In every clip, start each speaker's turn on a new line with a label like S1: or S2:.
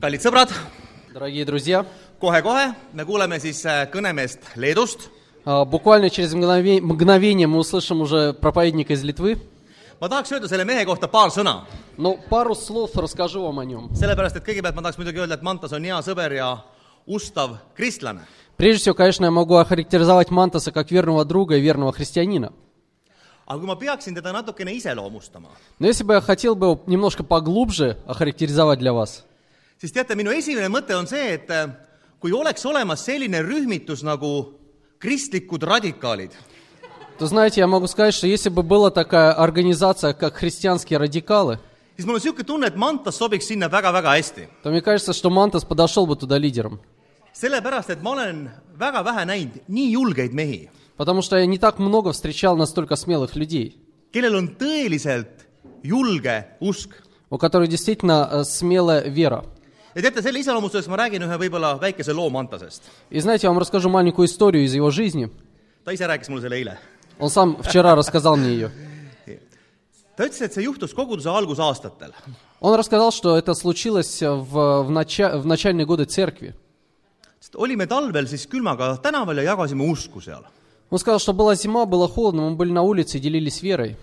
S1: kallid sõbrad ,
S2: Дорогие друзья,
S1: kohe-kohe me kuuleme siis äh, kõnemeest Leedust .
S2: а, буквально через мгнове- мгновение мы услышим уже проповедника из Литвы.
S1: ma tahaks öelda selle mehe kohta paar sõna ,
S2: Но пару слов расскажу вам о нем.
S1: sellepärast et kõigepealt ma tahaks muidugi öelda , et Mantas on hea sõber ja ustav kristlane .
S2: Прежде всего, конечно, я могу охарактеризовать Мантаса как верного друга и верного христианина.
S1: aga kui ma peaksin teda natukene iseloomustama ,
S2: Но если бы я хотел бы его немножко поглубже охарактеризовать для вас,
S1: siis teate , minu esimene mõte on see , et äh, kui oleks olemas selline rühmitus nagu kristlikud radikaalid ,
S2: то, знаете, я могу сказать, что если бы была такая организация, как христианские радикалы,
S1: siis mul on niisugune tunne , et Mantas sobiks sinna väga-väga hästi .
S2: то мне кажется, что Мантас подошел бы туда лидером.
S1: sellepärast , et ma olen väga vähe näinud nii julgeid mehi
S2: Потому что я не так много встречал настолько смелых людей,
S1: kellel on tõeliselt julge usk .
S2: у которых действительно э, смелая вера.
S1: ja teate , selle iseloomustuseks ma räägin ühe võib-olla väikese loo Mantasest .
S2: И знаете, я вам расскажу маленькую историю из его жизни.
S1: ta ise rääkis mulle selle eile .
S2: Он сам вчера рассказал мне ее.
S1: ta ütles , et see juhtus koguduse algusaastatel .
S2: Он рассказал, что это случилось э, в, в, нача- в начальные годы церкви.
S1: olime talvel siis külmaga tänaval ja jagasime usku seal .
S2: Он сказал, что была зима, было холодно, мы были на улице и делились верой.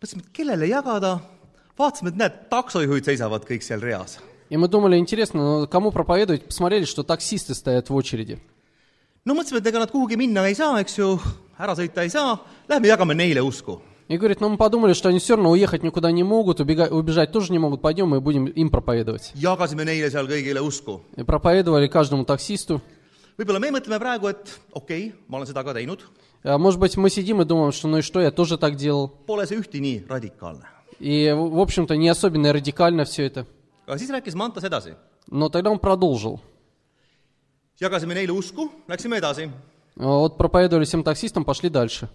S1: mõtlesime , et kellele jagada , vaatasime , et näed , taksojuhid seisavad kõik seal reas .
S2: И мы думали, интересно, ну, кому проповедовать? Посмотрели, что таксисты стоят в очереди.
S1: no mõtlesime , et ega nad kuhugi minna ei saa , eks ju , ära sõita ei saa , lähme jagame neile usku .
S2: И говорит, ну мы подумали, что они все равно уехать никуда не могут, убега- убежать тоже не могут, пойдем мы будем им проповедовать.
S1: jagasime neile seal kõigile usku .
S2: И проповедовали каждому таксисту.
S1: võib-olla me mõtleme praegu , et okei okay, , ma olen seda ka teinud ,
S2: А, Может быть, мы сидим и думаем, что ну и что, я тоже так делал.
S1: pole see ühti nii radikaalne
S2: И, в в общем-то, не особенно и радикально все это.
S1: aga siis rääkis Mantas edasi .
S2: Но тогда он продолжил.
S1: jagasime neile usku , läksime edasi ,
S2: Э, Вот проповедовали всем таксистам, пошли дальше.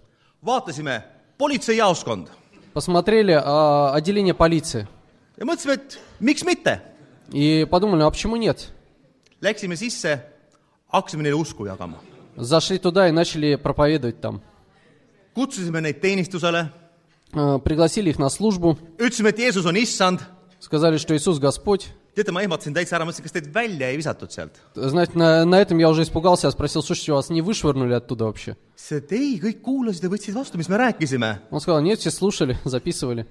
S1: vaatasime politseijaoskond
S2: Посмотрели а, отделение полиции
S1: ja mõtlesime , et miks mitte .
S2: и подумали, а почему нет?
S1: Läksime sisse , hakkasime neile usku jagama .
S2: Зашли туда и начали проповедовать там.
S1: kutsusime neid teenistusele ,
S2: Э, Пригласили их на службу,
S1: ütlesime , et Jeesus on issand .
S2: сказали, что Иисус Господь.
S1: teate , ma ehmatasin täitsa ära , mõtlesin , kas teid välja ei visatud sealt .
S2: Знаете, на, на этом я уже испугался, я спросил, слушайте, вас не вышвырнули оттуда вообще?
S1: siis ta , et ei , kõik kuulasid ja võtsid vastu , mis me rääkisime .
S2: Он сказал, нет, все слушали, записывали.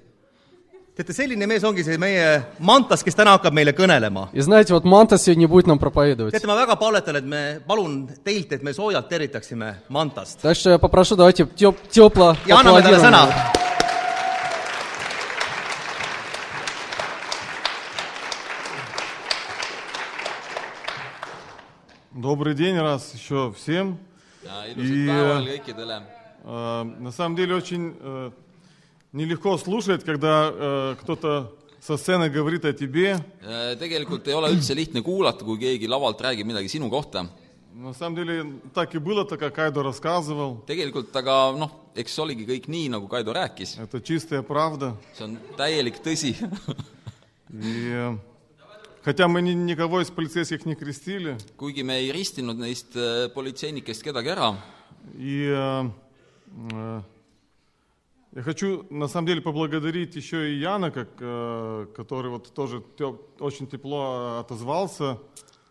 S1: teate , selline mees ongi see meie Mantas , kes täna hakkab meile kõnelema .
S2: И знаете, вот Манта сегодня будет нам проповедовать.
S1: teate , ma väga palvetan , et me , palun teilt , et me soojalt tervitaksime Mantast .
S2: Так что я попрошу, давайте теп- тепло
S1: ja anname talle
S2: поаплодируем
S1: sõna
S2: ему. .
S3: Добрый день раз еще всем.
S4: ja
S3: Ja-
S4: ilusat päeval kõikidele .
S3: Э, На самом деле очень э, нелегко слушать, когда э, кто-то со сцены говорит о тебе.
S4: Äh, tegelikult ei ole üldse lihtne kuulata , kui keegi lavalt räägib midagi sinu kohta .
S3: На самом деле так и было, так как Айдо рассказывал.
S4: tegelikult aga noh , eks oligi kõik nii , nagu Kaido rääkis ,
S3: Это чистая правда.
S4: see on täielik tõsi .
S3: И э, хотя мы ни- никого из полицейских не крестили,
S4: kuigi me ei ristinud neist äh, politseinikest kedagi ära ,
S3: и э, э, я хочу на самом деле поблагодарить еще и Яна, как, э, который вот тоже тё- очень тепло отозвался.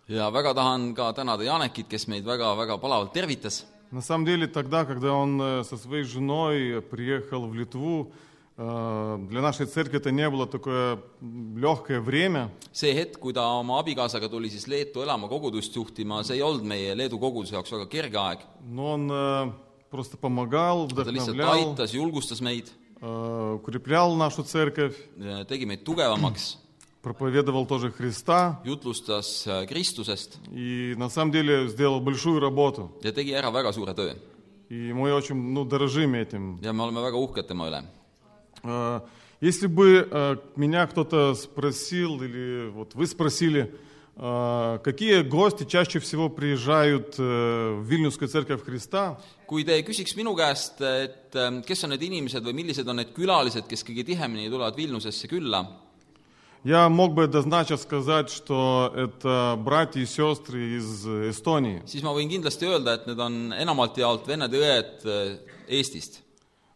S4: ja väga tahan ka tänada Janekit , kes meid väga-väga palavalt tervitas .
S3: На самом деле, тогда, когда он э, со своей женой приехал в Литву, э, для нашей церкви это не было такое легкое время.
S4: see hetk , kui ta oma abikaasaga tuli siis Leetu elama kogudust juhtima , see ei olnud meie Leedu koguduse jaoks väga kerge aeg .
S3: Но он э, просто помогал,
S4: ta lihtsalt
S3: вдохновлял,
S4: aitas , julgustas meid ,
S3: э, укреплял нашу церковь,
S4: tegi meid tugevamaks ,
S3: проповедовал тоже Христа
S4: jutlustas äh, Kristusest
S3: и на самом деле сделал большую работу.
S4: ja tegi ära väga suure töö
S3: И мы очень ну, дорожим этим.
S4: ja me oleme väga uhked tema üle .
S3: Э, Если бы э, меня кто-то спросил, или вот вы спросили, э, какие гости чаще всего приезжают э, в Вильнюсскую церковь Христа,
S4: kui te küsiks minu käest , et ähm, kes on need inimesed või millised on need külalised , kes kõige tihemini tulevad Vilniusesse külla ,
S3: я мог бы однозначно сказать, что это братья и сестры из э, Эстонии.
S4: siis ma võin kindlasti öelda , et need on enamalt jaolt vennad ja õed äh, Eestist .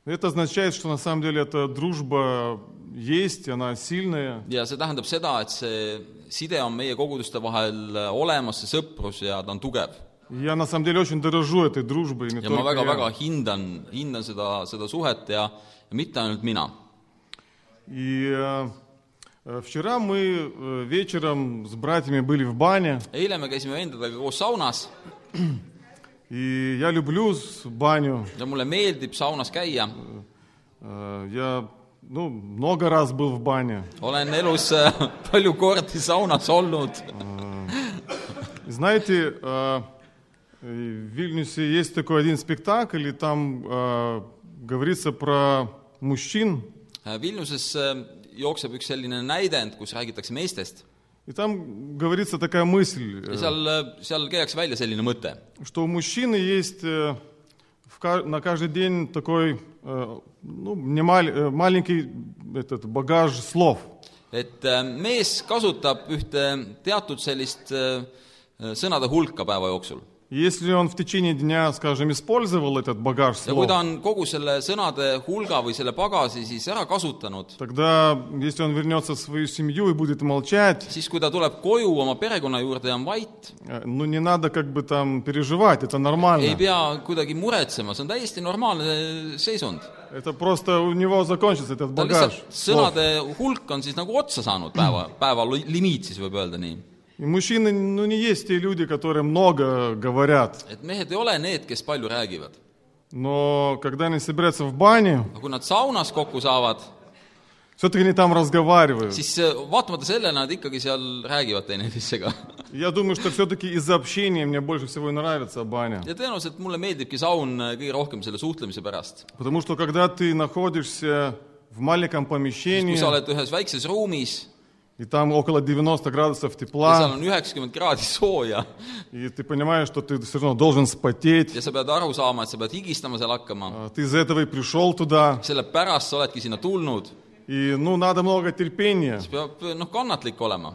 S3: Это означает, что на самом деле эта дружба есть, она сильная.
S4: ja see tähendab seda , et see side on meie koguduste vahel äh, olemas , see sõprus ja ta on tugev .
S3: И Я на самом деле очень дорожу этой дружбой. Не
S4: ja ma
S3: только я.
S4: väga-väga hindan , hindan seda , seda suhet ja, ja mitte ainult mina .
S3: И э, э, вчера мы э, вечером с братьями были в бане.
S4: eile me käisime vendadega koos saunas
S3: И я люблю с- баню.
S4: ja mulle meeldib saunas käia .
S3: Э, Я ну, много раз был в бане.
S4: olen elus äh, palju kordi saunas olnud .
S3: И Знаете, э, э, в Вильнюсе есть такой один спектакль, и там э, говорится про мужчин.
S4: Vilniuses äh, jookseb üks selline näidend , kus räägitakse meestest
S3: И там говорится такая мысль, э,
S4: ja seal , seal käiakse välja selline mõte ,
S3: что у мужчины есть э, в ка- на каждый день такой э, ну, немал- э, маленький этот багаж слов.
S4: et äh, mees kasutab ühte teatud sellist äh, sõnade hulka päeva jooksul .
S3: И Если он в течение дня, скажем, использовал этот багаж
S4: ja kui
S3: слов,
S4: ta on kogu selle sõnade hulga või selle pagasi siis ära kasutanud ,
S3: тогда, если он вернется в свою семью и будет молчать,
S4: siis kui ta tuleb koju oma perekonna juurde ja on vait ,
S3: э, ну не надо как бы там переживать, это
S4: ei
S3: нормально.
S4: pea kuidagi muretsema , see on täiesti normaalne seisund .
S3: Это просто у него закончится этот
S4: ta
S3: багаж
S4: lihtsalt ,
S3: слов.
S4: sõnade hulk on siis nagu otsa saanud päeva , päeva li- limiit siis võib öelda nii .
S3: И мужчины, ну не есть те люди, которые много говорят,
S4: et mehed ei ole need , kes palju räägivad .
S3: но когда они собираются в бане,
S4: aga kui nad saunas kokku saavad ,
S3: все-таки они там разговаривают.
S4: siis äh, vaatamata sellele nad ikkagi seal räägivad teineteisega .
S3: Я думаю, что все-таки из-за общения мне больше всего и nравится баня.
S4: ja tõenäoliselt mulle meeldibki saun äh, kõige rohkem selle suhtlemise pärast .
S3: Потому что когда ты находишься в маленьком помещении,
S4: kui sa oled ühes väikses ruumis
S3: и там около 90 градусов
S4: ja seal
S3: тепла,
S4: on üheksakümmend kraadi sooja
S3: и ты понимаешь, что ты все равно должен
S4: ja
S3: спотеть,
S4: sa pead aru saama , et sa pead higistama seal hakkama ,
S3: а, ты из-за этого и пришел туда,
S4: sellepärast sa oledki sinna tulnud ,
S3: и ну надо много терпения.
S4: siis peab noh , kannatlik olema .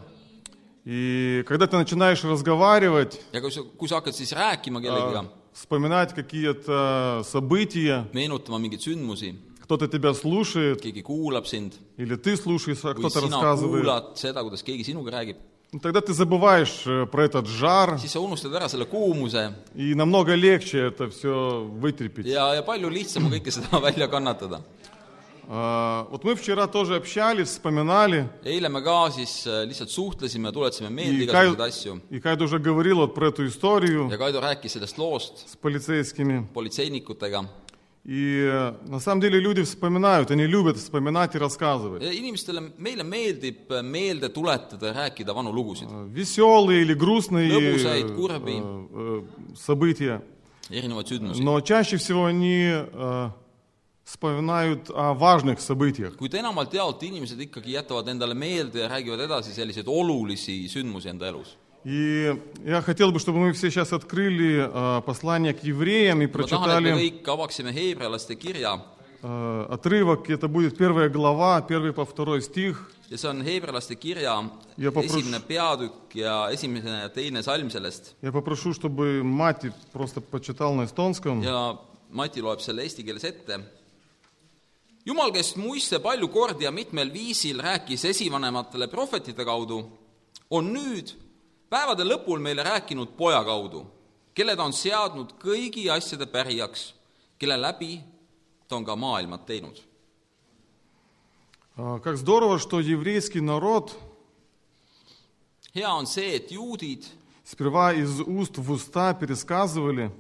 S3: И когда ты начинаешь разговаривать,
S4: ja kui sa , kui sa hakkad siis rääkima kellegiga
S3: а, , вспоминать какие-то события,
S4: meenutama mingeid sündmusi ,
S3: кто-то тебя слушает,
S4: keegi kuulab sind
S3: или ты слушаешь, а
S4: või
S3: кто-то
S4: sina
S3: рассказывает,
S4: kuulad seda , kuidas keegi sinuga räägib ,
S3: ну, тогда ты забываешь э, про этот жар,
S4: siis sa unustad ära selle kuumuse
S3: И намного легче это все вытерпеть.
S4: ja , ja palju lihtsam on kõike seda välja kannatada .
S3: А, Вот мы вчера тоже общались, вспоминали.
S4: eile me ka siis äh, lihtsalt suhtlesime , tuletasime meelde
S3: И Кай-
S4: igasuguseid asju
S3: и Кайд уже говорил вот про эту историю
S4: ja Kaido rääkis sellest loost
S3: с полицейскими.
S4: politseinikutega
S3: И э, на самом деле люди вспоминают, они любят вспоминать и рассказывать.
S4: inimestele , meile meeldib äh, meelde tuletada ja rääkida vanu lugusid ,
S3: Веселые или грустные
S4: Лобузает,
S3: э,
S4: курви.
S3: э, э, события.
S4: erinevaid sündmusi .
S3: Но чаще всего они э, вспоминают о важных событиях.
S4: kuid enamalt jaolt inimesed ikkagi jätavad endale meelde ja räägivad edasi selliseid olulisi sündmusi enda elus .
S3: И я хотел бы, чтобы мы все сейчас открыли э, послание к евреям и
S4: ma tahan , et
S3: прочитали...
S4: me kõik avaksime heebrealaste kirja
S3: Э, отрывок, это будет первая глава, первый по второй стих.
S4: ja see on heebrealaste kirja
S3: Ja paprus-
S4: esimene peatükk ja esimene ja teine salm sellest
S3: Я попрошу, чтобы Мати просто почитал на эстонском.
S4: ja Mati loeb selle eesti keeles ette . jumal , kes muiste palju kordi ja mitmel viisil rääkis esivanematele prohvetite kaudu , on nüüd päevade lõpul meile rääkinud poja kaudu , kelle ta on seadnud kõigi asjade pärijaks , kelle läbi ta on ka maailmad teinud .
S3: Э, Как здорово, что еврейский народ
S4: hea on see , et juudid
S3: сперва из уст в уста пересказывали,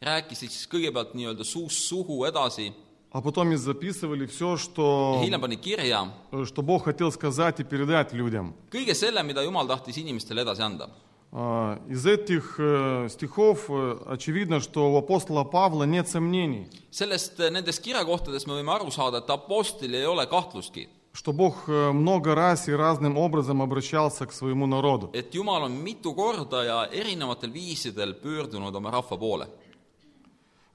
S4: rääkisid siis kõigepealt nii-öelda suust suhu edasi ,
S3: а потом и записывали все, что,
S4: hiljem pani kirja
S3: э, что Бог хотел сказать и передать людям.
S4: kõige selle , mida Jumal tahtis inimestele edasi anda
S3: А, Из этих э, стихов э, очевидно, что у апостола Павла нет сомнений,
S4: sellest , nendes kirjakohtades me võime aru saada , et apostlil ei ole kahtlustki ,
S3: что Бог э, много раз и разным образом обращался к своему народу.
S4: et Jumal on mitu korda ja erinevatel viisidel pöördunud oma rahva poole .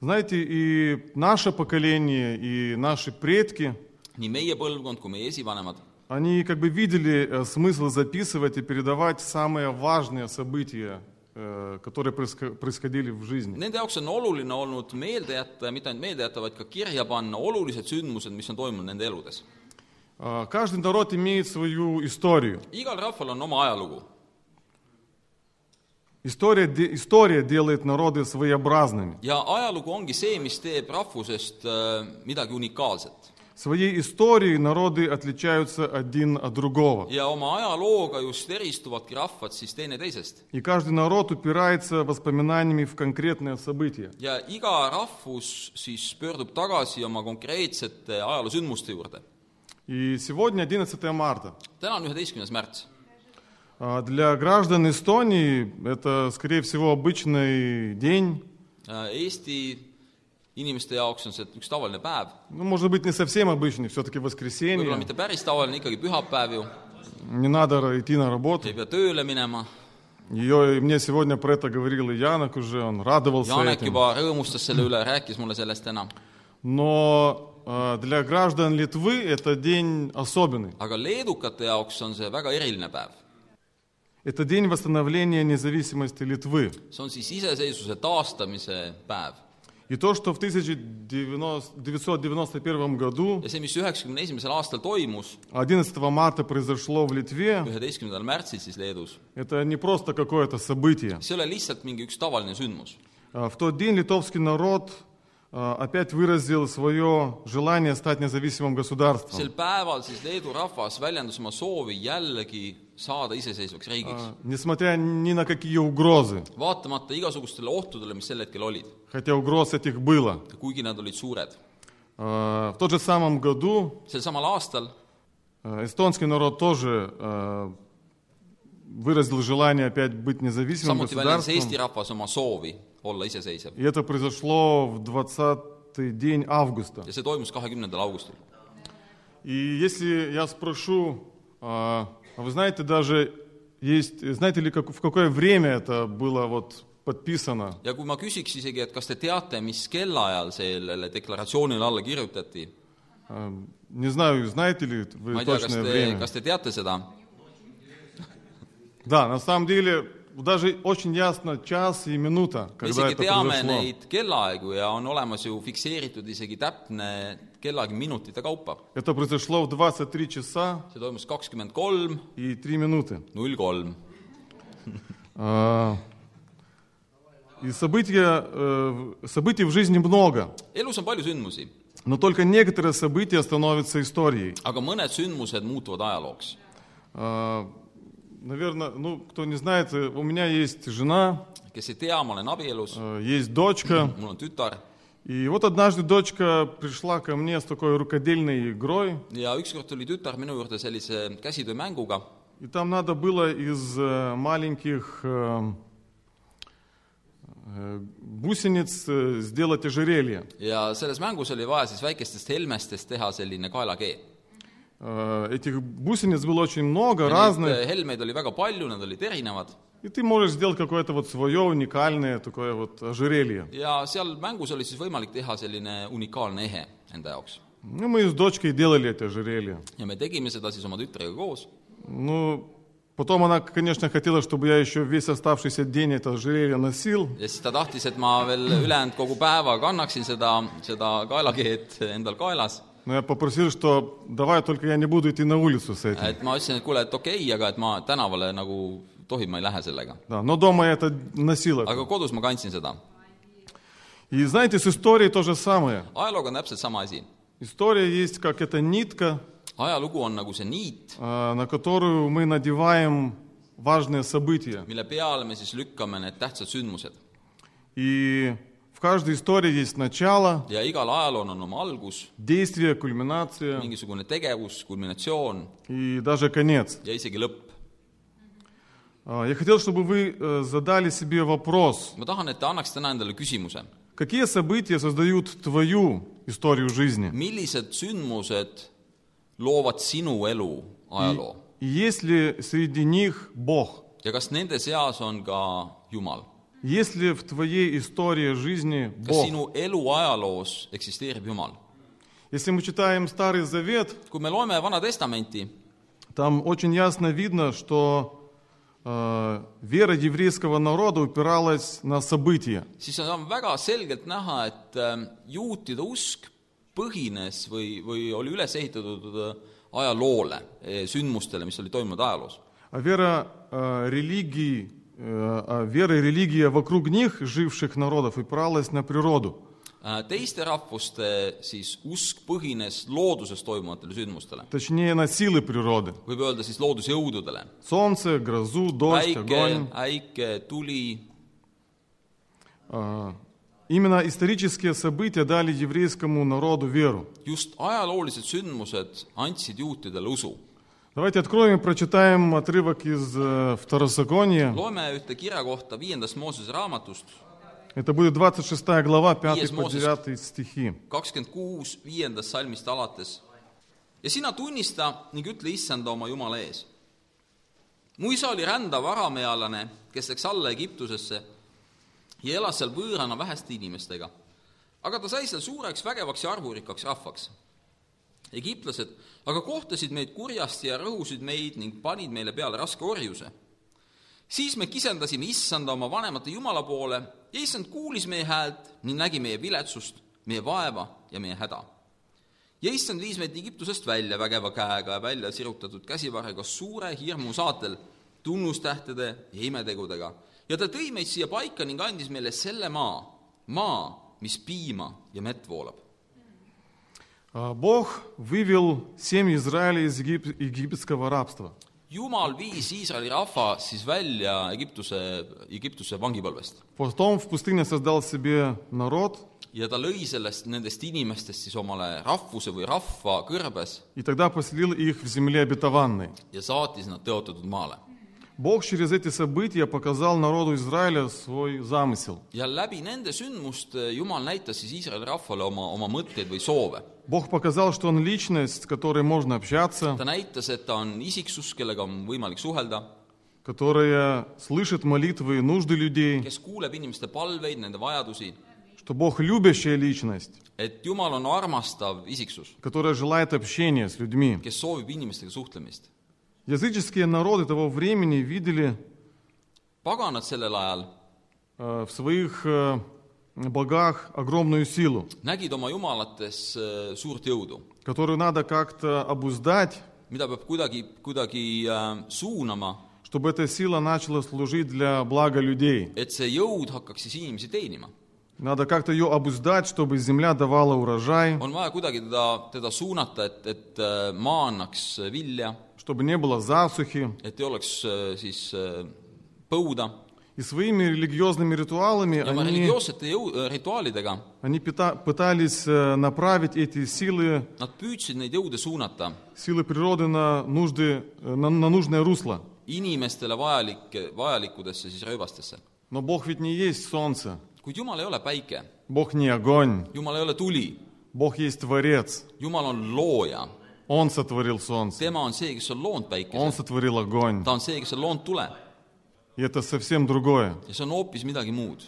S3: Знаете, и наше поколение, и наши предки,
S4: nii meie põlvkond kui meie esivanemad ,
S3: они как бы видели э, смысл записывать и передавать самые важные события э, которые происко- происходили в жизни.
S4: Nende jaoks on oluline olnud meelde jätta ja mitte ainult meelde jätta , vaid ka kirja panna olulised sündmused , mis on toimunud nende eludes .
S3: Э, Каждый народ имеет свою историю.
S4: igal rahval on oma ajalugu .
S3: История, де- история делает народы своеобразными.
S4: ja ajalugu ongi see , mis teeb rahvusest äh, midagi unikaalset .
S3: Своей историей народы отличаются один от другого.
S4: ja oma ajalooga just eristuvadki rahvad siis teineteisest .
S3: И каждый народ упирается воспоминаниями в конкретное событие.
S4: ja iga rahvus siis pöördub tagasi oma konkreetsete ajaloosündmuste juurde .
S3: И сегодня 11 марта.
S4: täna on üheteistkümnes märts .
S3: А Для граждан Эстонии это, скорее всего, обычный день.
S4: Eesti inimeste jaoks on see üks tavaline päev ,
S3: Ну, может быть, не совсем обычный, все-таки
S4: võib-olla
S3: воскресенье.
S4: mitte päris tavaline , ikkagi pühapäev ju ,
S3: Не надо идти на работу.
S4: ei pea tööle minema ,
S3: Ее, мне сегодня про это говорил и Янок уже, он радовался
S4: Janek
S3: этим.
S4: juba rõõmustas selle üle , rääkis mulle sellest täna .
S3: Но э, для граждан Литвы это день особенный.
S4: aga leedukate jaoks on see väga eriline päev .
S3: Это день восстановления независимости Литвы.
S4: see on siis iseseisvuse taastamise päev
S3: И то, что в 1991 году,
S4: ja see , mis üheksakümne esimesel aastal toimus ,
S3: 11 марта произошло в Литве,
S4: üheteistkümnendal märtsil siis Leedus ,
S3: это не просто какое-то событие.
S4: see ei ole lihtsalt mingi üks tavaline sündmus .
S3: Э, В тот день литовский народ э, опять выразил свое желание стать независимым государством.
S4: sel päeval siis Leedu rahvas väljendas oma soovi jällegi saada iseseisvaks riigiks ,
S3: Э, Несмотря ни на какие угрозы,
S4: vaatamata igasugustele ohtudele , mis sel hetkel olid ,
S3: хотя угроз этих было.
S4: kuigi nad olid suured .
S3: Э, В тот же самом году
S4: sel samal aastal
S3: э, эстонский народ тоже э, выразил желание опять быть независимым
S4: samuti väljendas Eesti
S3: государством.
S4: rahvas oma soovi olla iseseisev
S3: И это произошло в 20 день августа.
S4: ja see toimus kahekümnendal augustil .
S3: И если я спрошу, а а вы знаете даже, есть, знаете ли, как, в какое время это было вот подписано?
S4: ja kui ma küsiks isegi , et kas te teate , mis kellaajal sellele deklaratsioonile alla kirjutati ,
S3: А, Не знаю, знаете ли вы
S4: ma ei tea , kas
S3: точное
S4: te ,
S3: время.
S4: kas te teate seda ?
S3: Да, на самом деле, даже очень ясно час и минута,
S4: me
S3: когда
S4: isegi
S3: это
S4: teame
S3: произошло.
S4: neid kellaaegu ja on olemas ju fikseeritud isegi täpne kellaaeg minutite kaupa .
S3: Это произошло в 23 часа
S4: see toimus kakskümmend kolm ,
S3: и 3 минуты.
S4: null kolm .
S3: А, И события, э, событий в жизни много,
S4: elus on palju sündmusi ,
S3: но только некоторые события становятся историей.
S4: aga mõned sündmused muutuvad ajalooks .
S3: Наверное, А, ну, кто не знает, э, у меня есть жена,
S4: kes ei tea , ma olen abielus ,
S3: э, есть дочка.
S4: mul on tütar
S3: И вот однажды дочка пришла ко мне с такой рукодельной игрой.
S4: ja ükskord tuli tütar minu juurde sellise käsitöömänguga
S3: И там надо было из э, маленьких э, э, гусениц э, сделать ожерелье.
S4: ja selles mängus oli vaja siis väikestest helmestest teha selline kaelakee .
S3: Э, Этих гусениц было очень много, разных.
S4: eh, helmeid oli väga palju , nad olid erinevad
S3: И ты можешь сделать какое-то вот свое уникальное такое вот ожерелье.
S4: ja seal mängus oli siis võimalik teha selline unikaalne ehe enda jaoks .
S3: Ну, мы с дочкой делали это ожерелье.
S4: ja me tegime seda siis oma tütrega koos
S3: Ну, потом она, конечно, хотела, чтобы я еще весь оставшийся день это ожерелье носил.
S4: ja siis ta tahtis , et ma veel ülejäänud kogu päeva kannaksin seda , seda kaelakeed endal kaelas .
S3: Но я попросил, что давай только я не буду идти на улицу с этим.
S4: et ma ütlesin , et kuule , et okei okay, , aga et ma tänavale nagu tohin , ma ei lähe sellega .
S3: Да, но дома я это носил. это.
S4: aga kodus ma kandsin seda .
S3: И знаете, с историей то же самое.
S4: ajalooga on täpselt sama asi .
S3: История есть как эта нитка,
S4: ajalugu on nagu see niit ,
S3: э, на которую мы надеваем важные события.
S4: mille peale me siis lükkame need tähtsad sündmused .
S3: И в каждой истории есть начало,
S4: ja igal ajalool on oma algus ,
S3: действие, кульминация
S4: mingisugune tegevus , kulminatsioon
S3: и даже конец.
S4: ja isegi lõpp
S3: Э, Я хотел, чтобы вы э, задали себе вопрос.
S4: ma tahan , et te annaks täna endale küsimuse ,
S3: Какие события создают твою историю жизни?
S4: millised sündmused loovad sinu elu ajaloo
S3: И есть ли среди них Бог?
S4: ja kas nende seas on ka Jumal ?
S3: Есть ли в твоей истории жизни
S4: kas oh.
S3: Бог?
S4: sinu elu ajaloos eksisteerib Jumal ?
S3: Если мы читаем Старый Завет,
S4: kui me loeme Vana Testamenti ,
S3: там очень ясно видно, что э, э, вера еврейского народа упиралась на события.
S4: siis on väga selgelt näha , et äh, juutide usk põhines või , või oli üles ehitatud äh, ajaloole , sündmustele , mis olid toimunud ajaloos .
S3: А вера э, религии, э, а вера и религия вокруг них, живших народов, упиралась на природу.
S4: Äh, teiste rahvuste äh, siis usk põhines looduses toimuvatele sündmustele ,
S3: Точнее, на силы природы.
S4: võib öelda siis loodusjõududele .
S3: Солнце, грозу, дождь,
S4: päike
S3: огонь. ,
S4: äike , tuli ,
S3: Э, Именно исторические события дали еврейскому народу веру.
S4: just ajaloolised sündmused andsid juutidele usu .
S3: Давайте откроем и прочитаем отрывок из э, Второзакония.
S4: loeme ühte kirja kohta viiendast Moosese raamatust ,
S3: Это будет 26 глава, 5
S4: Есть
S3: по
S4: Мозес.
S3: 9 стихи.
S4: kakskümmend kuus , viiendast salmist alates . ja sina tunnista ning ütle issanda oma Jumala ees . mu isa oli rändav aramealane , kes läks alla Egiptusesse ja elas seal võõrana väheste inimestega . aga ta sai seal suureks vägevaks ja arvurikkaks rahvaks . egiptlased aga kohtasid meid kurjasti ja rõhusid meid ning panid meile peale raske orjuse siis me kisendasime issanda oma vanemate Jumala poole ja issand kuulis meie häält ning nägi meie viletsust , meie vaeva ja meie häda . ja issand viis meid Egiptusest välja vägeva käega ja välja sirutatud käsivarrega suure hirmu saatel , tunnustähtede ja imetegudega . ja ta tõi meid siia paika ning andis meile selle maa , maa , mis piima ja mett voolab .
S3: А, Бог вывел семьи Израиля из егип- египетского рабства.
S4: jumal viis Iisraeli rahva siis välja Egiptuse , Egiptuse vangipõlvest
S3: Потом в пустыне создал себе народ,
S4: ja ta lõi sellest , nendest inimestest siis omale rahvuse või rahva kõrbes
S3: и тогда поселил их в земле обетованной.
S4: ja saatis nad tõotatud maale .
S3: Бог через эти события показал народу Израиля свой замысел.
S4: ja läbi nende sündmuste Jumal näitas siis Iisraeli rahvale oma , oma mõtteid või soove .
S3: Бог показал, что Он личность, с которой можно общаться,
S4: ta näitas , et ta on isiksus , kellega on võimalik suhelda ,
S3: которая слышит молитвы и нужды людей,
S4: kes kuuleb inimeste palveid , nende vajadusi ,
S3: что Бог любящая личность,
S4: et Jumal on armastav isiksus ,
S3: которая желает общения с людьми.
S4: kes soovib inimestega suhtlemist .
S3: Языческие народы того времени видели
S4: paganad sellel ajal
S3: э, в своих э, богах огромную силу,
S4: nägid oma jumalates äh, suurt jõudu ,
S3: которую надо как-то обуздать,
S4: mida peab kuidagi , kuidagi äh, suunama ,
S3: чтобы эта сила начала служить для блага людей.
S4: et see jõud hakkaks siis inimesi teenima .
S3: Надо как-то ее обуздать, чтобы земля давала урожай,
S4: on vaja kuidagi teda , teda suunata , et , et äh, maa annaks äh, vilja
S3: чтобы не было засухи.
S4: et ei oleks äh, siis äh, põuda
S3: И своими религиозными ритуалами
S4: ja oma
S3: они,
S4: religioossete jõu- , rituaalidega
S3: они пита- пытались э, направить эти силы,
S4: nad püüdsid neid jõude suunata
S3: силы природы на, нужды, э, на, на нужное русло.
S4: inimestele vajalike , vajalikudesse siis rööbastesse .
S3: Но Бог ведь не есть солнце,
S4: kuid Jumal ei ole päike ,
S3: Бог не огонь,
S4: Jumal ei ole tuli ,
S3: Бог есть Творец.
S4: Jumal on looja .
S3: Он сотворил солнце.
S4: tema on see , kes on
S3: Он
S4: loonud päikese ,
S3: сотворил огонь.
S4: ta on see , kes on loonud tule ja
S3: И это совсем другое.
S4: see on hoopis midagi muud .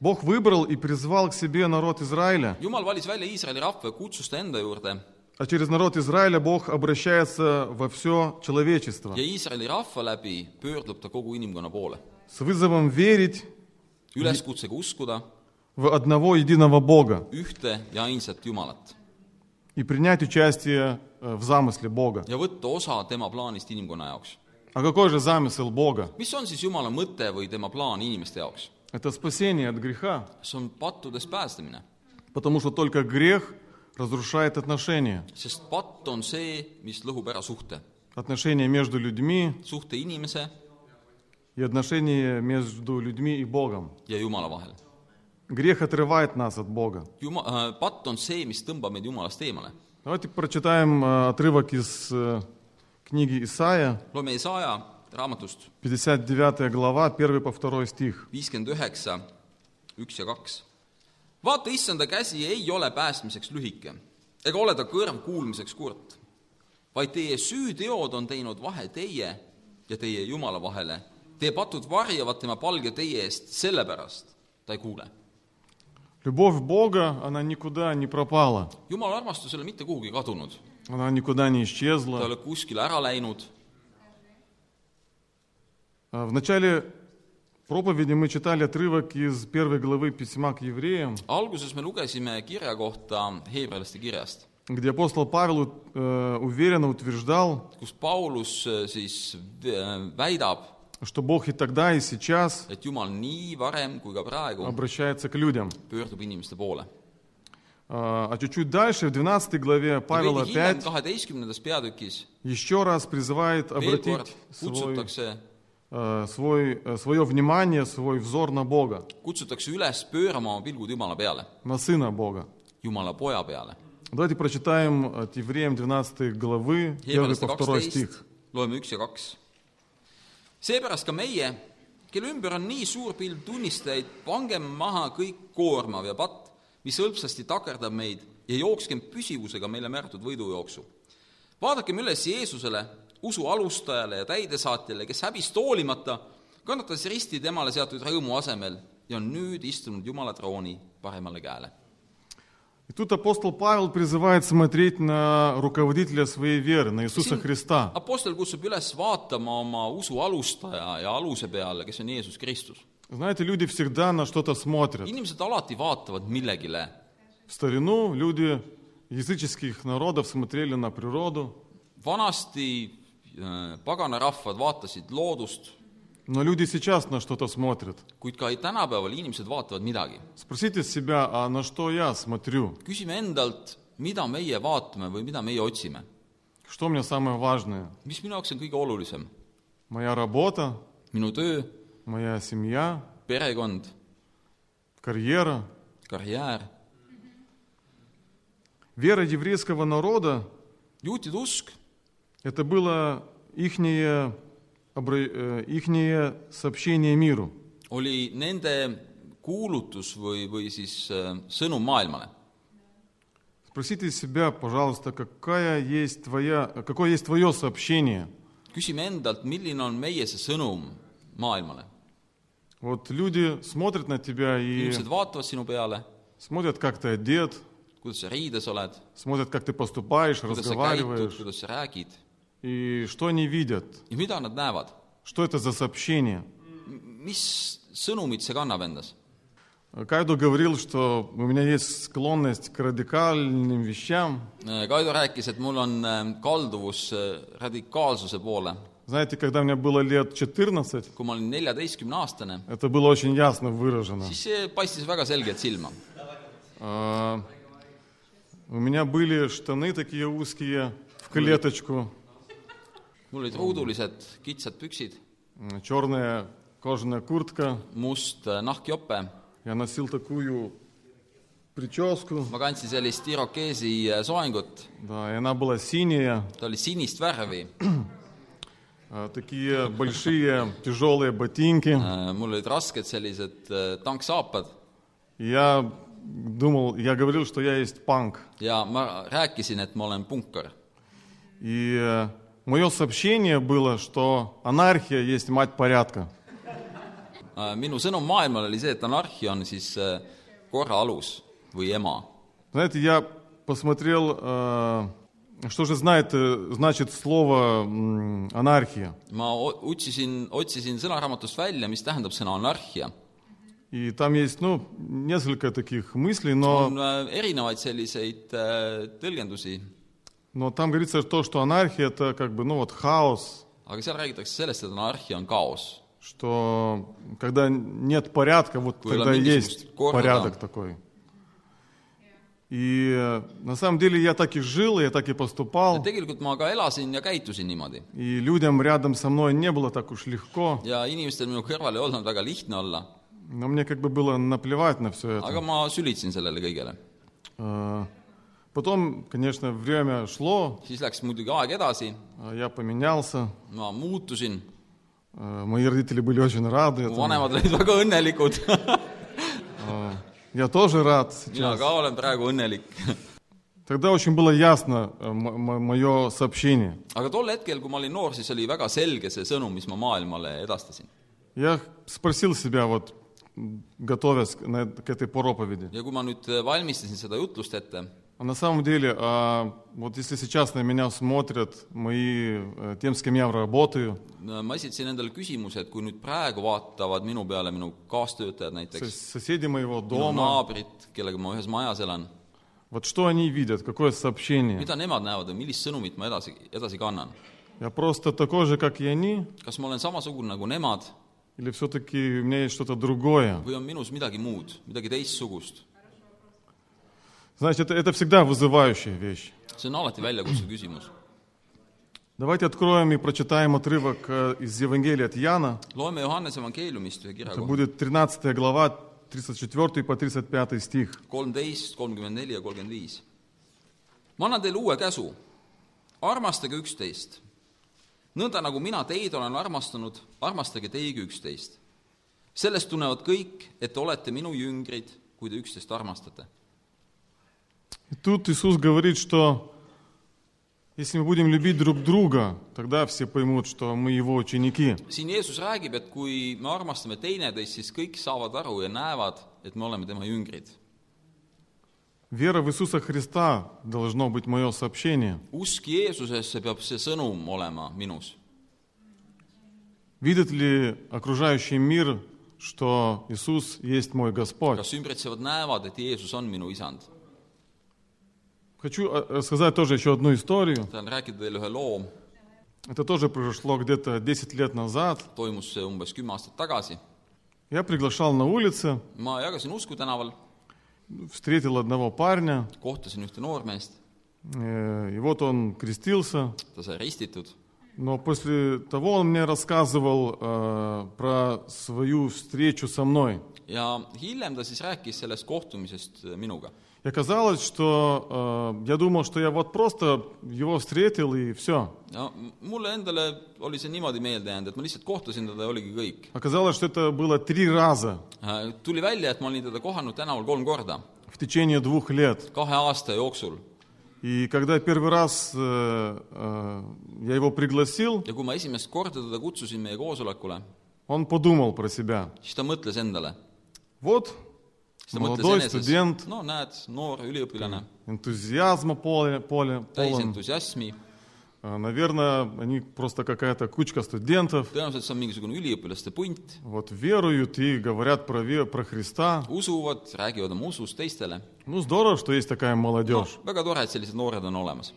S3: Бог выбрал и призвал к себе народ Израиля,
S4: Jumal valis välja Iisraeli rahva ja kutsus ta enda juurde
S3: а через народ Израиля Бог обращается во все человечество
S4: ja Iisraeli rahva läbi pöördub ta kogu inimkonna poole .
S3: с вызовом верить
S4: üleskutsega uskuda
S3: в одного единого Бога
S4: ühte ja ainsat Jumalat
S3: и принять участие э, в замысле Бога.
S4: ja võtta osa tema plaanist inimkonna jaoks .
S3: А какой же замысел Бога?
S4: mis on siis Jumala mõte või tema plaan inimeste jaoks ?
S3: Это spasение от греха,
S4: see on pattudest päästmine ,
S3: потому что только грех разрушает отношения.
S4: sest patt on see , mis lõhub ära suhte ,
S3: Отношения между людьми
S4: suhte inimese
S3: и отношения между людьми и Богом.
S4: ja Jumala vahel .
S3: Грех отрывает нас от Бога.
S4: Juma- , patt on see , mis tõmbab meid Jumalast eemale .
S3: Давайте прочитаем э, отрывок из э, книги Исаия,
S4: loeme Isaia raamatust
S3: 59 глава, 1 по 2 стих.
S4: viiskümmend üheksa , üks ja kaks . vaata , issanda käsi ei ole päästmiseks lühike ega ole ta kõrv kuulmiseks kurt , vaid teie süüteod on teinud vahe teie ja teie Jumala vahele . Teie patud varjavad tema palge teie eest , sellepärast ta ei kuule .
S3: Любовь Бога, она никуда не пропала,
S4: Jumala armastus ei ole mitte kuhugi kadunud ,
S3: она никуда не
S4: ta ei
S3: исчезла,
S4: ole kuskile ära läinud ,
S3: А, В начале проповеди мы читали отрывок из первой главы письма к евреям,
S4: alguses me lugesime kirja kohta heebrealaste kirjast ,
S3: где апостол Павел э, уверенно утверждал,
S4: kus Paulus äh, siis äh, väidab ,
S3: что Бог и тогда, и сейчас
S4: et Jumal nii varem kui ka praegu
S3: обращается к людям.
S4: pöördub inimeste poole .
S3: А а чуть-чуть дальше, в 12 главе, Павел
S4: veidi hiljem ,
S3: опять
S4: kaheteistkümnendas peatükis ,
S3: еще раз призывает
S4: veel kord
S3: обратить свой,
S4: kutsutakse ,
S3: э, свой, э, свое внимание, свой взор на Бога,
S4: kutsutakse üles pöörama oma pilgud Jumala peale ,
S3: на Сына Бога.
S4: Jumala poja peale .
S3: Давайте прочитаем э, от Евреям 12 главы, 1
S4: Heebrealaste
S3: по 2
S4: kaksteist
S3: стих. ,
S4: loeme üks ja kaks . seepärast ka meie , kelle ümber on nii suur pilv tunnistajaid , pangem maha kõik koormav ja patt , mis hõlpsasti takerdab meid ja jookskem püsivusega meile määratud võidujooksu . vaadakem üles Jeesusele , usu alustajale ja täidesaatjale , kes häbist hoolimata kannatas risti temale seatud rõõmu asemel ja on nüüd istunud Jumala trooni paremale käele .
S3: И тут апостол Павел призывает смотреть на руководителя своей веры, на Иисуса Христа.
S4: Apostel kutsub üles vaatama oma usu alustaja ja aluse peale , kes on Jeesus Kristus .
S3: Знаете, люди всегда на что-то смотрят.
S4: inimesed alati vaatavad millegile .
S3: В старину люди языческих народов смотрели на природу,
S4: vanasti äh, pagana rahvad vaatasid loodust ,
S3: но люди сейчас на что-то смотрят.
S4: kuid ka tänapäeval inimesed vaatavad midagi .
S3: Спросите себя, а на что я смотрю?
S4: küsime endalt , mida meie vaatame või mida meie otsime .
S3: Что мне самое важное?
S4: mis minu jaoks on kõige olulisem ?
S3: Моя работа,
S4: minu töö ,
S3: моя семья,
S4: perekond ,
S3: карьера.
S4: karjäär ,
S3: Вера еврейского народа
S4: juutide usk
S3: Это было ихнее, обра- э, ихнее сообщение миру.
S4: oli nende kuulutus või , või siis äh, sõnum maailmale .
S3: Спросите себя, пожалуйста, какая есть твоя, какое есть твое сообщение?
S4: küsime endalt , milline on meie see sõnum maailmale .
S3: Вот люди смотрят на тебя и
S4: inimesed vaatavad sinu peale ,
S3: смотрят, как ты одет,
S4: kuidas sa riides oled
S3: смотрят, как ты поступаешь,
S4: kuidas sa käitud ,
S3: разговариваешь,
S4: kuidas sa räägid
S3: и что они видят,
S4: ja mida nad näevad ,
S3: что это за сообщение.
S4: mis sõnumit see kannab endas .
S3: Кайду говорил, что у меня есть склонность к радикальным вещам.
S4: Kaido rääkis , et mul on äh, kalduvus äh, radikaalsuse poole .
S3: Знаете, когда мне было лет 14,
S4: kui ma olin neljateistkümneaastane ,
S3: это было очень ясно выражено.
S4: siis see paistis väga selgelt silma .
S3: А, У меня были штаны такие узкие, в клеточку,
S4: mul olid ruudulised kitsad püksid ,
S3: м, черная кожаная куртка.
S4: must äh, nahkjope ,
S3: Я носил такую прическу,
S4: ma kandsin sellist irokeesi äh, soengut ,
S3: да, и она была синяя,
S4: ta oli sinist värvi ,
S3: а, такие большие тяжелые ботинки.
S4: Äh, mul olid rasked sellised äh, tanksaapad
S3: И Я думал, я говорил, что я есть панк.
S4: ja ma rääkisin , et ma olen punkar .
S3: И мое сообщение было, что анархия есть мать порядка.
S4: Äh, minu sõnum maailmale oli see , et anarhia on siis äh, korra alus või ema .
S3: Знаете, я посмотрел, э, что же знает, э, значит слово м, анархия.
S4: ma o- otsisin , otsisin sõnaraamatust välja , mis tähendab sõna anarhia .
S3: И там есть, ну, несколько таких мыслей,
S4: on
S3: но,
S4: äh, erinevaid selliseid äh, tõlgendusi ,
S3: но там говорится то, что анархия это как бы, ну, вот хаос,
S4: aga seal räägitakse sellest , et anarhia on kaos .
S3: что когда нет порядка, вот
S2: Какой
S3: тогда
S4: элементизм,
S3: есть
S4: корно,
S3: порядок
S4: да.
S3: такой. И э, на самом деле я так и жил, я так и поступал.
S4: tegelikult ma ka elasin ja käitusin niimoodi
S3: И людям рядом со мной не было так уж легко,
S4: ja inimestel minu kõrval ei olnud väga lihtne olla ,
S3: но мне как бы было наплевать на все это.
S4: aga ma sülitsin sellele kõigele .
S3: Э, Потом, конечно, время шло,
S4: siis läks muidugi aeg edasi ,
S3: э, я поменялся.
S4: ma muutusin ,
S3: Э, Мои родители были очень рады.
S4: mu
S3: этому.
S4: vanemad olid väga õnnelikud ,
S3: Э, Я тоже рад
S4: mina
S3: сейчас.
S4: ka olen praegu õnnelik
S3: Тогда очень было ясно э, мое сообщение.
S4: aga tol hetkel , kui ma olin noor , siis oli väga selge see sõnum , mis ma maailmale edastasin .
S3: Я спросил себя, вот, м, готовясь к на эт- к этой проповеди,
S4: ja kui ma nüüd valmistasin äh, seda jutlust ette ,
S3: А На самом деле, а, вот если сейчас на меня смотрят мои, э, тем, с кем я работаю,
S4: ma esitasin endale küsimuse , et kui nüüd praegu vaatavad minu peale minu kaastöötajad
S3: сос-
S4: näiteks ,
S3: соседи моего
S4: minu
S3: дома,
S4: naabrid , kellega ma ühes majas elan ,
S3: вот что они видят, какое сообщение?
S4: mida nemad näevad või millist sõnumit ma edasi , edasi kannan ?
S3: Я просто такой же, как и они,
S4: kas ma olen samasugune nagu nemad
S3: или все-таки у меня есть что-то другое?
S4: või on minus midagi muud , midagi teistsugust ?
S3: Значит, это, это всегда вызывающая вещь.
S4: see on alati väljakutsuv küsimus .
S3: Давайте откроем и прочитаем отрывок э, из Евангелия от Яна.
S4: loeme Johannese evangeeliumist ühe kirja
S3: Это
S4: kohta ,
S3: будет 13 глава, 34 по 35 стих.
S4: kolmteist , kolmkümmend neli ja kolmkümmend viis . ma annan teile uue käsu , armastage üksteist . nõnda , nagu mina teid olen armastanud , armastage teiegi üksteist . sellest tunnevad kõik , et te olete minu jüngrid , kui te üksteist armastate .
S3: И тут Иисус говорит, что если мы будем любить друг друга, тогда все поймут, что мы Его ученики.
S4: siin Jeesus räägib , et kui me armastame teineteist , siis kõik saavad aru ja näevad , et me oleme tema jüngrid .
S3: Вера в Иисуса Христа должно быть мое сообщение.
S4: usk Jeesusesse peab see sõnum olema minus
S3: Видит ли окружающий мир, что Иисус есть мой Господь?
S4: kas ümbritsevad näevad , et Jeesus on minu isand ?
S3: Хочу э, э, сказать тоже еще одну историю.
S4: tahan rääkida teile ühe loo ,
S3: Это тоже произошло где-то 10 лет назад.
S4: toimus see umbes kümme aastat tagasi .
S3: Я приглашал на улице,
S4: ma jagasin usku tänaval ,
S3: встретил одного парня,
S4: kohtasin ühte noormeest ,
S3: э, и вот он крестился.
S4: ta sai ristitud ,
S3: Но после того он мне рассказывал э, про свою встречу со мной.
S4: ja hiljem ta siis rääkis sellest kohtumisest minuga .
S3: И оказалось, что э, я думал, что я вот просто его vстретил и все.
S4: ja m- mulle endale oli see niimoodi meelde jäänud , et ma lihtsalt kohtasin teda ja oligi kõik .
S3: Оказалось, что это было три раза
S4: tuli välja , et ma olin teda kohanud tänaval kolm korda ,
S3: в tечение двух лет.
S4: kahe aasta jooksul .
S3: И когда первый раз э, э, я его пригласил,
S4: ja kui ma esimest korda teda kutsusin meie koosolekule ,
S3: он подумал про себя.
S4: siis ta mõtles endale .
S3: Вот
S4: siis ta
S3: молодой
S4: mõtles
S3: студент,
S4: eneses , no näed , noor üliõpilane
S3: энтузиазма поле, поле,
S4: täis
S3: полон.
S4: entusiasmi ,
S3: А, Наверное, они просто какая-то кучка студентов.
S4: tõenäoliselt see on mingisugune üliõpilaste punt ,
S3: Вот веруют и говорят про, ве- про Христа.
S4: usuvad , räägivad oma usust teistele .
S3: Ну, здорово, что есть такая молодежь.
S4: väga tore , et sellised noored on olemas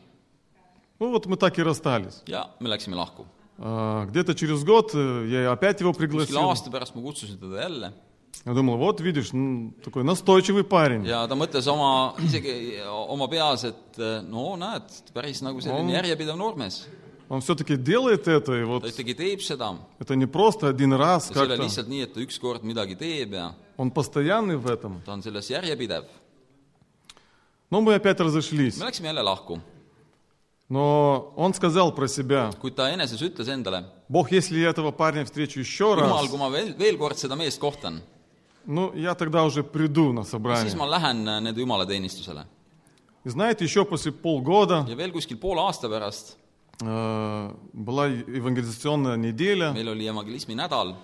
S3: Ну, вот мы так и расстались.
S4: ja me läksime lahku .
S3: А, Где-то через год э, я opять его
S4: kuskil
S3: пригласил.
S4: aasta pärast ma kutsusin teda jälle
S3: Я думал, вот видишь, ну, такой настойчивый парень.
S4: ja ta mõtles oma , isegi oma peas , et no näed , päris nagu selline järjepidev noormees .
S3: Он все-таки делает это, и вот
S4: ta ikkagi teeb seda ,
S3: это не просто один раз
S4: see ei ole
S3: как-то.
S4: lihtsalt nii , et ta ükskord midagi teeb ja
S3: Он постоянный в этом.
S4: ta on selles järjepidev .
S3: Но мы опять разошлись.
S4: me läksime jälle lahku ,
S3: Но он сказал про себя,
S4: kuid ta eneses ütles endale ,
S3: Бог, если я этого парня встречу еще раз,
S4: jumal , kui ma veel , veel kord seda meest kohtan ,
S3: ну, я тогда уже приду на
S4: siis
S3: собрание.
S4: ma lähen nende jumalateenistusele .
S3: И знаете, еще после полгода
S4: ja veel kuskil poole aasta pärast
S3: Э, была евангелизационная неделя,
S4: meil oli evangelismi nädal ,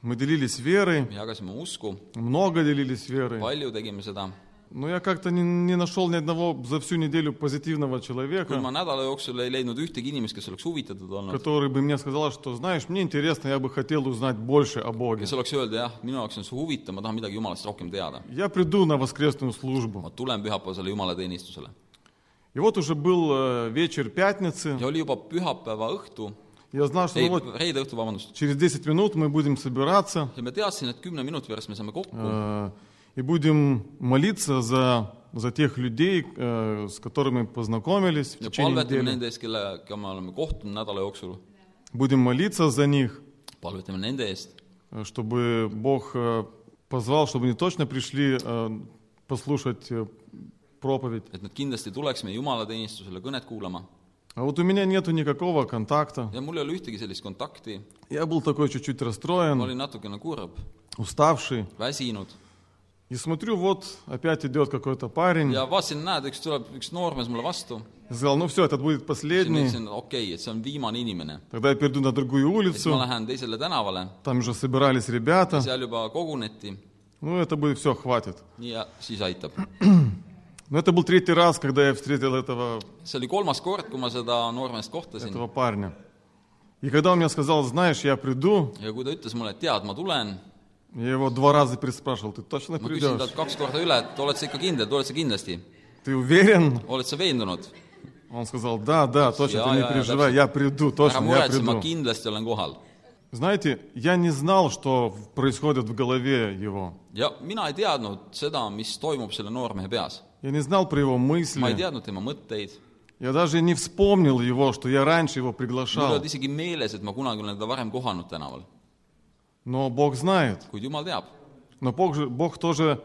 S3: мы делились верой,
S4: me jagasime usku ,
S3: много делились верой,
S4: palju tegime seda .
S3: но я как-то не, не нашел ни одного за всю неделю позитивного
S4: kui ma
S3: человека,
S4: nädala jooksul ei leidnud ühtegi inimest , kes oleks huvitatud olnud ,
S3: который бы мне сказал, что, знаешь, мне интересно, я бы хотел узнать больше о Боге.
S4: kes oleks öelnud , jah , minu jaoks on see huvitav , ma tahan midagi jumalast rohkem teada .
S3: Я приду на воскресную
S4: ma
S3: службу.
S4: tulen pühapäevasele jumalateenistusele .
S3: И вот уже был э, вечер пятницы,
S4: ja oli juba pühapäeva õhtu ,
S3: я знал, что
S4: ei
S3: ну вот, ,
S4: reede õhtu , vabandust ,
S3: через 10 минут мы будем собираться
S4: ja ma teadsin , et kümne minuti pärast me saame kokku
S3: э, и будем молиться за, за тех людей, э, с которыми познакомились в
S4: ja
S3: течение
S4: palvetame
S3: недели.
S4: nende eest , kellega me oleme kohtunud nädala jooksul ,
S3: Будем молиться за них,
S4: palvetame nende eest ,
S3: э, чтобы Бог э, позвал, чтобы они точно пришли э, послушать э, проповедь.
S4: et nad kindlasti tuleks meie jumalateenistusele kõnet kuulama
S3: А вот у меня нету никакого контакта.
S4: ja mul ei ole ühtegi sellist kontakti ,
S3: Я был такой чуть-чуть
S4: ma
S3: расстроен,
S4: olin natukene kurb ,
S3: уставший.
S4: väsinud
S3: И смотрю, вот опять идет какой-то парень.
S4: ja vaatasin , näed , üks tuleb , üks noormees mulle vastu ,
S3: Я сказал, ну все, этот будет
S4: siis ma
S3: последний.
S4: ütlesin , okei okay, , et see on viimane inimene .
S3: Тогда я перейду на другую
S4: siis ma
S3: улицу.
S4: lähen teisele tänavale ,
S3: Там уже собирались ребята.
S4: seal juba koguneti
S3: Ну, это будет все, хватит.
S4: ja siis aitab .
S3: Но это был третий раз, когда я встретил этого,
S4: see oli kolmas kord , kui ma seda noormeest kohtasin
S3: этого парня. И когда он мне сказал, знаешь, я приду,
S4: ja kui ta ütles mulle , et tead , ma tulen ,
S3: я его два раза переспрашивал, ты точно
S4: ma küsisin
S3: придешь?
S4: talt kaks korda üle , et oled sa ikka kindel , tuled sa kindlasti ,
S3: Ты уверен?
S4: oled sa veendunud ?
S3: Он сказал, да, да, точно,
S4: Я-
S3: ты
S4: я-
S3: не
S4: я
S3: переживай,
S4: даже-
S3: я приду,
S4: ära
S3: точно, я
S4: muretse , ma
S3: приду.
S4: kindlasti olen kohal .
S3: Знаете, я не знал, что происходит в голове его.
S4: ja mina ei teadnud seda , mis toimub selle noormehe peas .
S3: Я не знал про его
S4: ma ei
S3: мысли.
S4: teadnud tema mõtteid ,
S3: Я даже не вспомнил его, что я раньше его
S4: mul ei
S3: приглашал.
S4: olnud isegi meeles , et ma kunagi olen teda varem kohanud tänaval ,
S3: Но Бог знает.
S4: kuid jumal teab .
S3: Но Бог, же, Бог тоже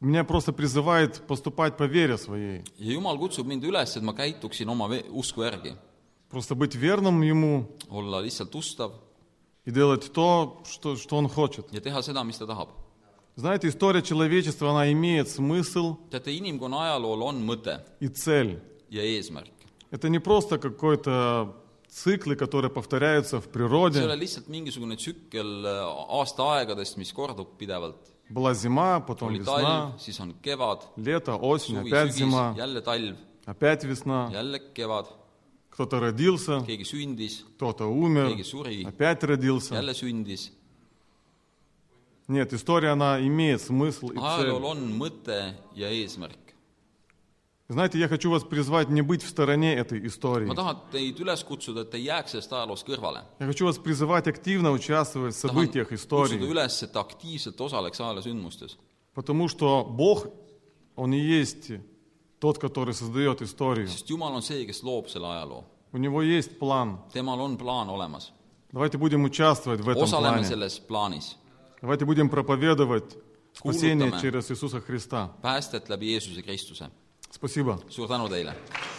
S3: меня просто призывает поступать по вере своей.
S4: ja jumal kutsub mind üles , et ma käituksin oma ve- usku järgi ,
S3: Просто быть верным Ему
S4: olla lihtsalt ustav
S3: и делать то, что, что Он хочет.
S4: ja teha seda , mis ta tahab .
S3: Знаете, история человечества, она имеет смысл
S4: teate , inimkonna ajalool on mõte
S3: и цель.
S4: ja eesmärk .
S3: Это не просто какой-то циклы, которые повторяются в
S4: see ei ole
S3: природе.
S4: lihtsalt mingisugune tsükkel äh, aastaaegadest , mis kordub pidevalt .
S3: Была зима, потом
S4: oli talv
S3: весна, ,
S4: siis on kevad ,
S3: лето, осень,
S4: suvi ,
S3: опять
S4: sügis ,
S3: зима,
S4: jälle talv ,
S3: опять весна.
S4: jälle kevad ,
S3: Кто-то родился,
S4: keegi sündis ,
S3: кто-то
S4: keegi
S3: умер,
S4: suri ,
S3: опять родился.
S4: jälle sündis .
S3: Нет, история, она имеет смысл и цель.
S4: ajalool on mõte ja eesmärk .
S3: Знаете, я хочу вас призвать не быть в стороне этой истории.
S4: ma tahan teid üles kutsuda , et te ei jääks sellest ajaloost kõrvale .
S3: Я хочу вас призывать активно участвовать в
S4: tahan
S3: событиях
S4: kutsuda
S3: истории,
S4: üles , et ta aktiivselt osaleks ajaloosündmustes ,
S3: потому что Бог, Он и есть тот, который создает историю.
S4: sest Jumal on see , kes loob selle ajaloo .
S3: У Него есть план.
S4: temal on plaan olemas ,
S3: Давайте будем участвовать в этом
S4: osaleme
S3: плане.
S4: selles plaanis
S3: Давайте будем проповедовать спасение
S4: Кулутаме.
S3: через Иисуса Христа.
S4: päästet läbi Jeesuse Kristuse .
S3: Спасибо.
S4: suur tänu teile!